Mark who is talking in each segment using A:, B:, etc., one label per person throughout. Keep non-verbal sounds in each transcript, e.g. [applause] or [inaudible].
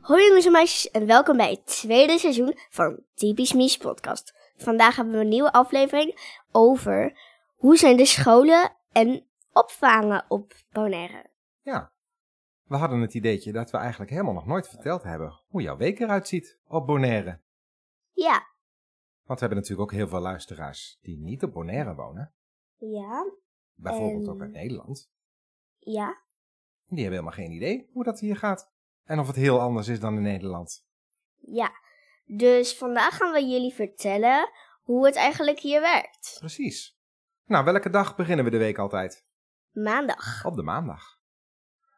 A: Hoi jongens en meisjes en welkom bij het tweede seizoen van Typisch Mies podcast. Vandaag hebben we een nieuwe aflevering over hoe zijn de scholen en opvangen op Bonaire.
B: Ja. We hadden het ideetje dat we eigenlijk helemaal nog nooit verteld hebben hoe jouw week eruit ziet op Bonaire.
A: Ja.
B: Want we hebben natuurlijk ook heel veel luisteraars die niet op Bonaire wonen.
A: Ja.
B: Bijvoorbeeld
A: En-
B: ook uit Nederland.
A: Ja.
B: Die hebben helemaal geen idee hoe dat hier gaat. En of het heel anders is dan in Nederland.
A: Ja. Dus vandaag gaan we jullie vertellen hoe het eigenlijk hier werkt.
B: Precies. Nou, welke dag beginnen we de week altijd?
A: Maandag,
B: Op de maandag.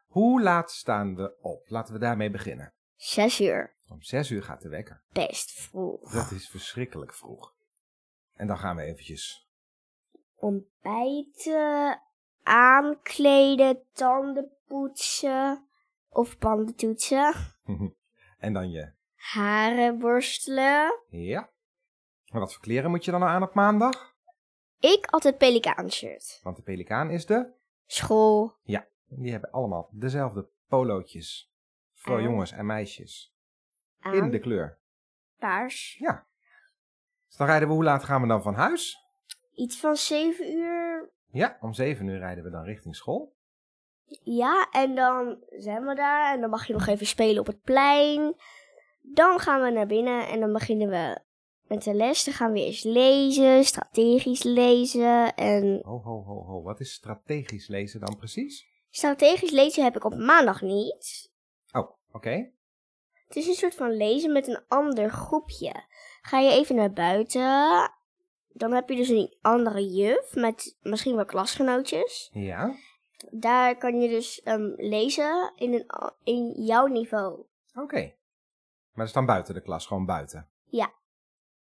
B: Hoe laat staan we op? Laten we daarmee beginnen.
A: 6 uur.
B: Om zes uur gaat de wekker.
A: Best vroeg.
B: Dat is verschrikkelijk vroeg. En dan gaan we eventjes [laughs]
A: ontbijten, aankleden, tanden poetsen of panden toetsen,
B: en dan je.
A: haren borstelen.
B: Ja. En wat voor kleren moet je dan nou aan op maandag?
A: Ik altijd pelikaanshirt.
B: Want de pelikaan is de.
A: School.
B: Die hebben allemaal dezelfde polootjes. Voor
A: Ah.
B: jongens en meisjes.
A: Aan
B: In de kleur.
A: paars.
B: Dus dan rijden we, hoe laat gaan we dan van huis?
A: Iets van 7 uur.
B: Ja, om 7 uur rijden we dan richting school.
A: Ja, en dan zijn we daar en dan mag je nog even spelen op het plein. Dan gaan we naar binnen en dan beginnen we met de les. Dan gaan we eerst lezen, strategisch lezen en
B: Ho, ho, ho, ho. Wat is strategisch lezen dan precies?
A: strategisch lezen heb ik op maandag niet.
B: Oh, oké.
A: Het is een soort van lezen met een ander groepje. Ga je even naar buiten, dan heb je dus een andere juf met misschien wel klasgenootjes.
B: Ja.
A: Daar kan je dus ehm, lezen in, een, a- in jouw niveau.
B: Oké. Maar dat is dan buiten de klas, gewoon buiten.
A: Ja.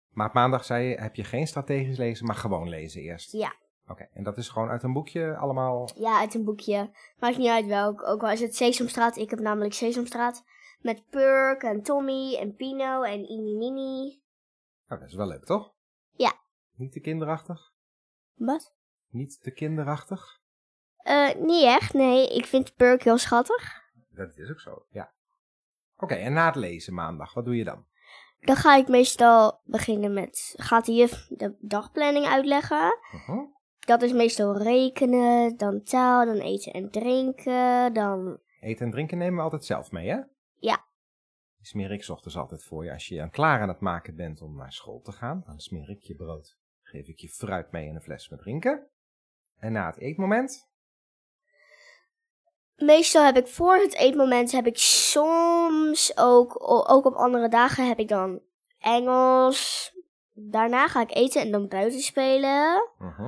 B: Maar op maandag zei je, heb je geen strategisch lezen, maar gewoon lezen eerst.
A: Ja.
B: Oké, en dat is gewoon uit een boekje allemaal.
A: Ja, uit een boekje. Maakt niet uit welk, ook al is het Sesamstraat. Ik heb namelijk Sesamstraat met Purk en Tommy en Pino en Ininini.
B: Nou, dat is wel leuk, toch?
A: Ja.
B: Niet te kinderachtig?
A: Wat?
B: Niet te kinderachtig?
A: Eh, niet echt, nee. Ik vind Purk heel schattig.
B: Dat is ook zo, ja. Oké, en na het lezen maandag, wat doe je dan?
A: Dan ga ik meestal beginnen met, gaat de juf de dagplanning uitleggen.
B: Mhm.
A: Dat is meestal rekenen, dan taal, dan eten en drinken, dan...
B: Eten en drinken nemen we altijd zelf mee, hè?
A: Ja.
B: Die smeer ik 's ochtends altijd voor je. Als je dan klaar aan het maken bent om naar school te gaan, dan smeer ik je brood. Geef ik je fruit mee en een fles met drinken. En na het eetmoment,
A: Meestal heb ik voor het eetmoment, heb ik soms ook, o- ook op andere dagen, heb ik dan Engels. Daarna ga ik eten en dan buiten spelen.
B: mhm,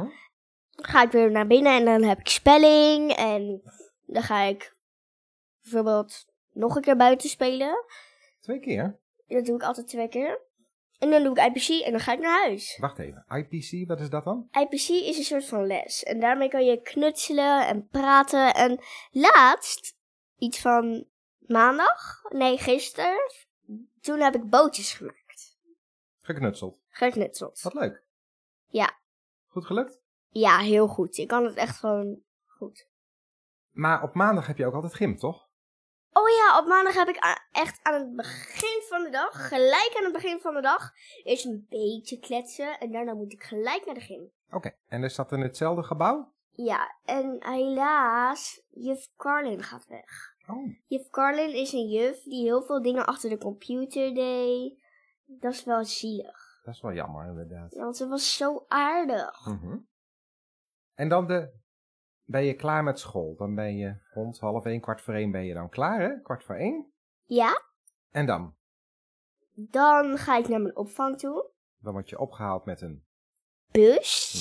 A: Dan ga ik weer naar binnen en dan heb ik spelling. En dan ga ik bijvoorbeeld nog een keer buiten spelen.
B: twee keer.
A: Dat doe ik altijd twee keer. En dan doe ik IPC en dan ga ik naar huis.
B: Wacht even, IPC, wat is dat dan?
A: IPC is een soort van les. En daarmee kan je knutselen en praten. En laatst, iets van maandag, nee gisteren, toen heb ik bootjes gemaakt.
B: Geknutseld.
A: Geknutseld.
B: Wat leuk.
A: Ja.
B: Goed gelukt?
A: Ja, heel goed. Ik kan het echt gewoon goed.
B: Maar op maandag heb je ook altijd gym, toch?
A: Oh ja, op maandag heb ik a- echt aan het begin van de dag, gelijk aan het begin van de dag, eerst een beetje kletsen. En daarna moet ik gelijk naar de gym.
B: Oké. En is dat in hetzelfde gebouw?
A: Ja, en helaas, juf Carlin gaat weg.
B: Oh.
A: Juf Carlin is een juf die heel veel dingen achter de computer deed. Dat is wel zielig.
B: Dat is wel jammer, inderdaad.
A: Want ze was zo aardig.
B: Mhm. En dan de... ben je klaar met school. Dan ben je rond half één, kwart voor één ben je dan klaar, hè? Kwart voor één.
A: Ja,
B: En dan?
A: dan ga ik naar mijn opvang toe.
B: Dan word je opgehaald met een...
A: Bus.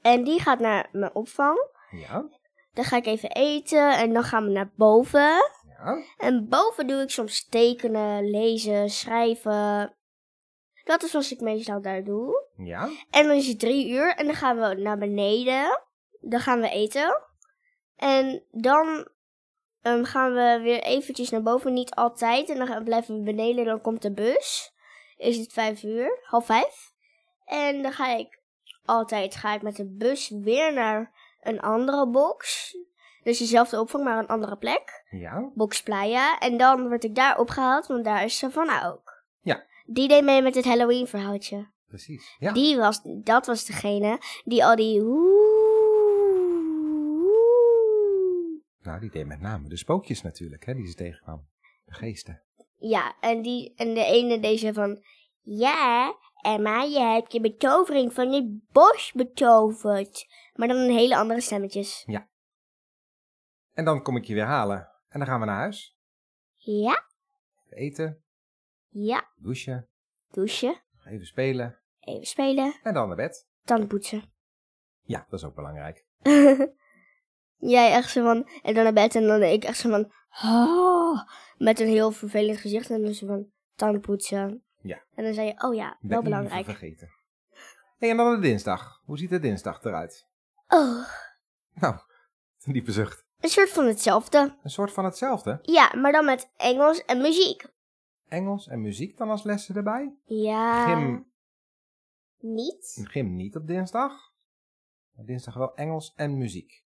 A: En die gaat naar mijn opvang.
B: Ja,
A: Dan ga ik even eten en dan gaan we naar boven.
B: ja.
A: En boven doe ik soms tekenen, lezen, schrijven. Dat is wat ik meestal daar doe.
B: Ja,
A: En dan is het drie uur en dan gaan we naar beneden. Dan gaan we eten. En dan ehm, gaan we weer eventjes naar boven. Niet altijd. En dan gaan- blijven we beneden. Dan komt de bus. Is het vijf uur? Half vijf. En dan ga ik altijd ga ik met de bus weer naar een andere box. En Dus dezelfde opvang, maar een andere plek.
B: Ja,
A: Box Playa. En dan werd ik daar opgehaald, want daar is Savannah ook.
B: Ja.
A: Die deed mee met het Halloween verhaaltje.
B: precies. Ja,
A: Die was, dat was degene die al die woe-
B: nou die deed met name de spookjes natuurlijk, hè, die ze tegenkwam. De geesten.
A: Ja, en, die, en de ene deze van... Ja, Emma, je hebt je betovering van het bos betoverd. Maar dan een hele andere stemmetjes.
B: En dan kom ik je weer halen. En dan gaan we naar huis.
A: Ja,
B: Eten,
A: ja,
B: douchen,
A: douchen,
B: nog even spelen
A: even spelen,
B: en dan naar bed.
A: tanden poetsen.
B: Ja, dat is ook belangrijk.
A: Jij echt zo van, en dan naar bed en dan ik echt zo van... Oh, met een heel vervelend gezicht en dan zo van, tanden poetsen.
B: Ja.
A: En dan zei je, oh ja, wel
B: Blijf niet
A: belangrijk.
B: vergeten. Hey, en dan de dinsdag. Hoe ziet de dinsdag eruit? [laughs]
A: Oh,
B: Nou, een diepe zucht.
A: een soort van hetzelfde.
B: Een soort van hetzelfde.
A: Ja, maar dan met Engels en muziek.
B: Engels en muziek dan als lessen erbij.
A: Ja,
B: Gym,
A: niet.
B: gym niet op dinsdag. Maar dinsdag wel Engels en muziek.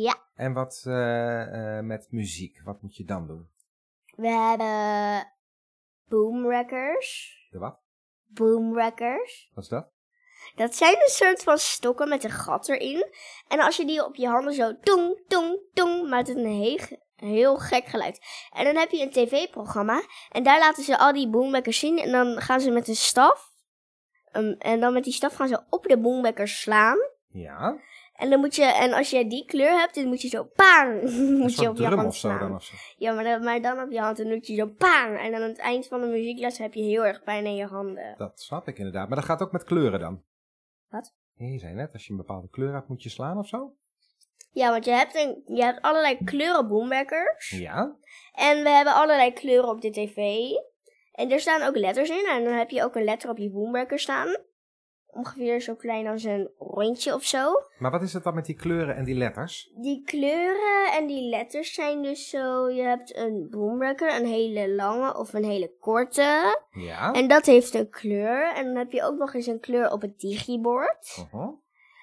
A: Ja.
B: En wat eh, eh, met muziek? Wat moet je dan doen?
A: We hebben boomwreckers.
B: De wat?
A: Boomwreckers.
B: Wat is dat?
A: Dat zijn een soort van stokken met een gat erin. En als je die op je handen zo tong, tong, tong, maakt het een heel, heel gek geluid. En dan heb je een tv-programma. En daar laten ze al die boomwreckers zien. En dan gaan ze met een staf. ehm, en dan met die staf gaan ze op de boomwreckers slaan.
B: Ja,
A: En, dan moet je, en als je die kleur hebt, dan moet je zo paan.
B: een
A: [laughs] Moet je
B: soort
A: op je
B: drum
A: hand
B: of zo
A: slaan.
B: dan of zo.
A: Ja, maar dan, maar dan op je hand en doet je zo paan. En aan het eind van de muziekles heb je heel erg pijn in je handen.
B: Dat snap ik inderdaad. Maar dat gaat ook met kleuren dan.
A: Wat?
B: Ja, Je zei net, als je een bepaalde kleur hebt, moet je slaan of zo?
A: Ja, want je hebt, een, je hebt allerlei kleuren boomwekkers.
B: Ja.
A: En we hebben allerlei kleuren op de tv. En er staan ook letters in. En dan heb je ook een letter op je boomwekker staan. Ongeveer zo klein als een rondje of zo.
B: Maar wat is het dan met die kleuren en die letters?
A: Die kleuren en die letters zijn dus zo. Je hebt een boomwekker, een hele lange of een hele korte.
B: Ja.
A: En dat heeft een kleur. En dan heb je ook nog eens een kleur op het digibord.
B: Uh-huh.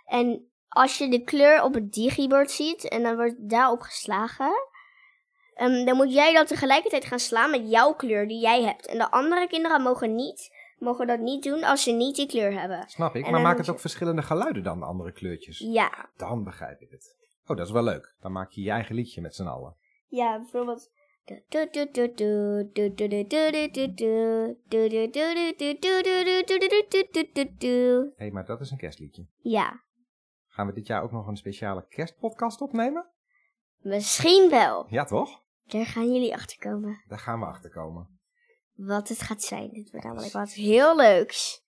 A: En als je de kleur op het digibord ziet en dan wordt daarop geslagen, ehm, dan moet jij dan tegelijkertijd gaan slaan met jouw kleur die jij hebt. En de andere kinderen mogen, niet, mogen dat niet doen als ze niet die kleur hebben.
B: Snap ik.
A: En
B: Maar
A: dan
B: maakt
A: moet
B: het
A: je-
B: ook verschillende geluiden dan, de andere kleurtjes?
A: Ja,
B: Dan begrijp ik het. Oh, dat is wel leuk. Dan maak je je eigen liedje met z'n allen.
A: ja bijvoorbeeld. du-du-du-du-du-du-du-du-du-du-du-du-du-du-du-du-du-du-du-du-du-du-du-du-du-du-du-du-du-du-du.
B: Hé, maar dat is een kerstliedje.
A: Ja,
B: Gaan we dit jaar ook nog een speciale kerstpodcast opnemen?
A: misschien wel.
B: Ja, toch?
A: Daar gaan jullie achter komen.
B: Daar gaan we achter komen.
A: wat het gaat zijn. Het wordt namelijk wat heel leuks.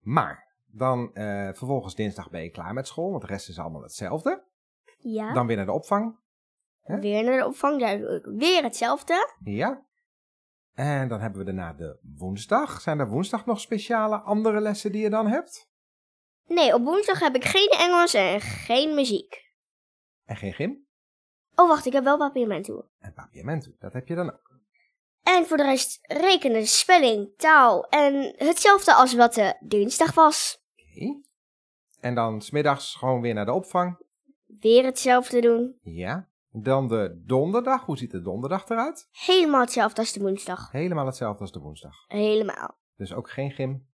B: Maar, dan eh, vervolgens dinsdag ben je klaar met school, want de rest is allemaal hetzelfde.
A: Ja.
B: Dan weer naar de opvang. hè?
A: Weer naar de opvang, daar doe ik weer hetzelfde.
B: Ja. En dan hebben we daarna de woensdag. Zijn er woensdag nog speciale andere lessen die je dan hebt?
A: Nee, op woensdag heb ik geen Engels en geen muziek.
B: En geen gym?
A: Oh, wacht, ik heb wel papiermen toe.
B: En papiamento, dat heb je dan ook.
A: En voor de rest rekenen, spelling, taal en hetzelfde als wat de dinsdag was.
B: Oké. En dan smiddags gewoon weer naar de opvang.
A: Weer hetzelfde doen.
B: Ja. Dan de donderdag. Hoe ziet de donderdag eruit?
A: Helemaal hetzelfde als de woensdag.
B: Helemaal hetzelfde als de woensdag.
A: Helemaal.
B: Dus ook geen gym,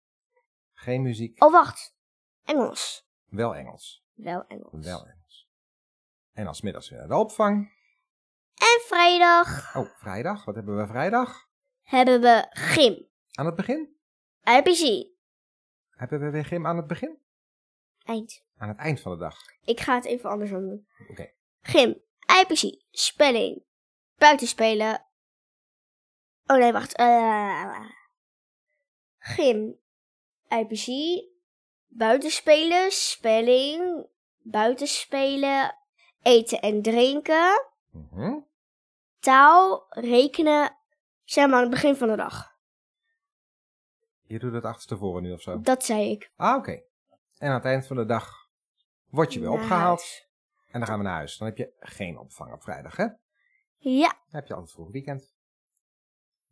B: geen muziek,
A: Oh, wacht. Engels.
B: wel Engels.
A: Wel Engels.
B: Wel Engels. En dan 's middags weer naar de opvang.
A: En vrijdag
B: Oh, vrijdag. Wat hebben we vrijdag?
A: hebben we gym.
B: Aan het begin?
A: IPC.
B: Hebben we weer gym aan het begin?
A: Eind.
B: Aan het eind van de dag.
A: Ik ga het even andersom doen.
B: Oké.
A: Gym, IPC, spelling, buitenspelen. Oh nee, wacht. Eh, gym, IPC, buitenspelen, spelling, buitenspelen, eten en drinken,
B: Mhm.
A: taal, rekenen. Zijn we aan het begin van de dag.
B: Je doet het achterstevoren nu of zo.
A: Dat zei ik.
B: Ah, oké. En aan het eind van de dag word je weer
A: Naar
B: opgehaald.
A: huis.
B: En dan gaan we naar huis. Dan heb je geen opvang op vrijdag, hè?
A: Ja,
B: Dan heb je altijd vroeg weekend.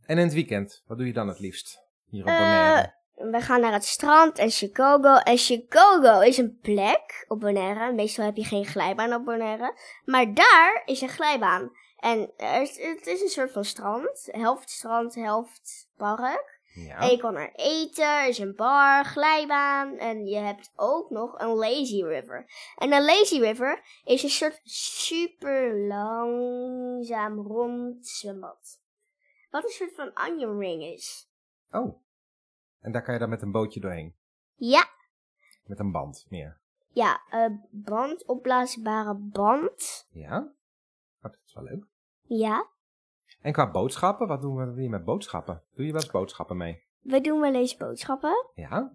B: En in het weekend, wat doe je dan het liefst? Hier op
A: Eh,
B: Bonaire.
A: We gaan naar het strand en Chicago. En Chicago is een plek op Bonaire. Meestal heb je geen glijbaan op Bonaire. Maar daar is een glijbaan. En er is- het is een soort van strand. Helft strand, helft park.
B: Ja.
A: En je kan er eten, er is een bar, glijbaan. En je hebt ook nog een lazy river. En een lazy river is een soort super langzaam rond zwembad. Wat een soort van onion ring is.
B: Oh. En daar kan je dan met een bootje doorheen.
A: Ja,
B: Met een band meer.
A: Ja, eh, band, opblaasbare band.
B: Ja. Oh, dat is wel leuk.
A: Ja.
B: En qua boodschappen, wat doen we hier met boodschappen? Doe je wel eens boodschappen mee?
A: We doen wel eens boodschappen.
B: Ja.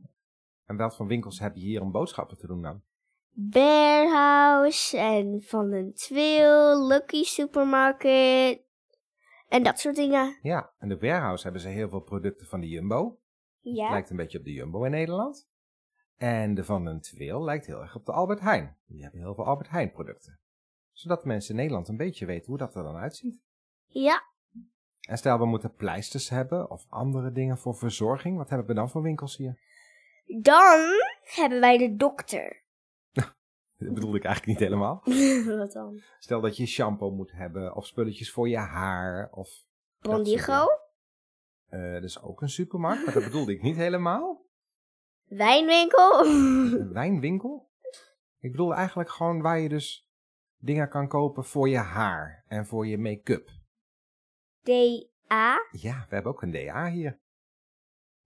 B: En welk van winkels heb je hier om boodschappen te doen dan?
A: Bearhouse en Van den Twil, Lucky Supermarket en dat soort dingen.
B: Ja, en de warehouse hebben ze heel veel producten van de Jumbo.
A: Ja.
B: Lijkt een beetje op de Jumbo in Nederland. En de Van den Twil lijkt heel erg op de Albert Heijn. Die hebben heel veel Albert Heijn producten. Zodat mensen in Nederland een beetje weten hoe dat er dan uitziet.
A: Ja,
B: En stel we moeten pleisters hebben of andere dingen voor verzorging. Wat hebben we dan voor winkels hier? [laughs]
A: dan hebben wij de dokter. [laughs]
B: Dat bedoelde ik eigenlijk niet helemaal.
A: Wat dan?
B: Stel dat je shampoo moet hebben of spulletjes voor je haar of...
A: Bondigo,
B: eh dat is ook een supermarkt, maar dat bedoelde ik niet helemaal.
A: wijnwinkel. [laughs]
B: Een wijnwinkel. Ik bedoel eigenlijk gewoon waar je dus dingen kan kopen voor je haar en voor je make-up.
A: DA.
B: Ja, we hebben ook een DA hier.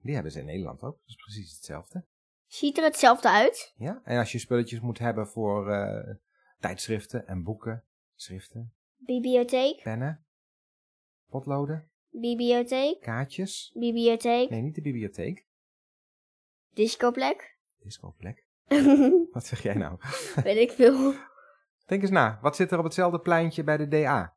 B: Die hebben ze in Nederland ook. Dat is precies hetzelfde.
A: Ziet er hetzelfde uit?
B: Ja, en als je spulletjes moet hebben voor eh, tijdschriften en boeken, schriften,
A: Bibliotheek,
B: pennen, potloden,
A: bibliotheek,
B: kaartjes.
A: bibliotheek,
B: Nee, niet de bibliotheek.
A: discoplek. [laughs]
B: Discoplek. Wat zeg jij nou?
A: Weet ik veel.
B: Denk eens na, wat zit er op hetzelfde pleintje bij de DA?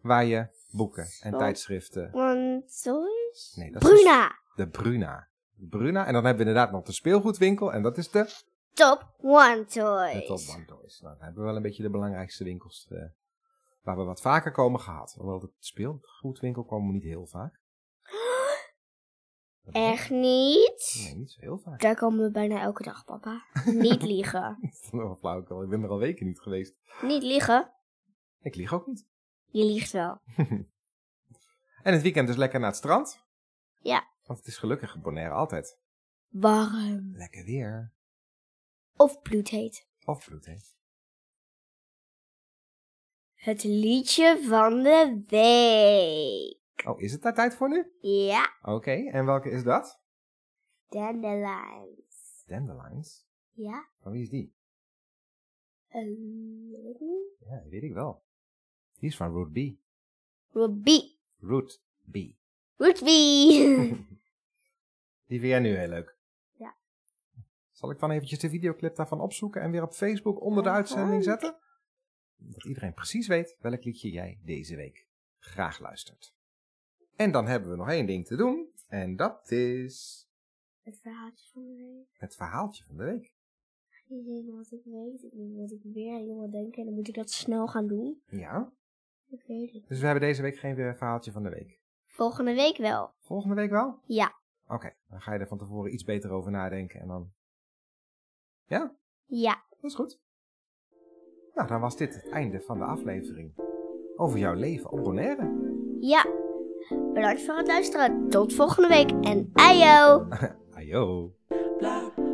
B: Waar je boeken en
A: Oh.
B: tijdschriften.
A: Want zo is.
B: Nee, dat is dus
A: Bruna!
B: De Bruna. Bruna. En dan hebben we inderdaad nog de speelgoedwinkel. En dat is de,
A: Top One
B: de Top
A: Toys.
B: One Toys. Nou, dan hebben we wel een beetje de belangrijkste winkels eh, waar we wat vaker komen gehad. Hoewel de speelgoedwinkel komen we niet heel vaak. Dat is ook-
A: Echt niet?
B: Nee, niet zo heel vaak. [laughs]
A: Daar komen we bijna elke dag, papa. Niet liegen.
B: Dat is wel flauwekul. Ik ben er al weken niet geweest.
A: niet liegen.
B: Ik lieg ook niet.
A: Je liegt wel.
B: En het weekend dus lekker naar het strand.
A: Ja.
B: Want het is gelukkig in Bonaire altijd.
A: Warm.
B: Lekker weer.
A: Of bloedheet.
B: Of vloed, hè?
A: Het liedje van de week.
B: Oh, is het daar tijd voor nu?
A: Ja,
B: Oké, en welke is dat?
A: Dandelion.
B: Dandelions.
A: Ja,
B: Van wie is die?
A: ehm, weet ik niet.
B: Ja, die weet ik wel. Die is van Root B.
A: Ruby.
B: Root B.
A: Ruby.
B: Die vind jij nu heel leuk.
A: Ja.
B: Zal ik dan eventjes de videoclip daarvan opzoeken en weer op Facebook onder de
A: Aha.
B: uitzending zetten? Dat iedereen precies weet welk liedje jij deze week graag luistert. En dan hebben we nog één ding te doen. En dat is
A: [laughs] Het verhaaltje van de week.
B: het verhaaltje van de week.
A: Ik weet niet wat ik weet. Ik weet wat ik weer aan jongen denk. En dan moet ik dat snel gaan doen.
B: Ja,
A: Ik weet het.
B: dus we hebben deze week geen weer verhaaltje van de week.
A: Volgende week wel.
B: Volgende week wel?
A: Ja.
B: Oké, dan ga je er van tevoren iets beter over nadenken en dan... Ja,
A: Ja.
B: dat is goed. Nou, dan was dit het einde van de aflevering over jouw leven op Bonaire.
A: Ja. Bedankt voor het luisteren. Tot volgende week. En ayo!
B: Ajo.
C: blah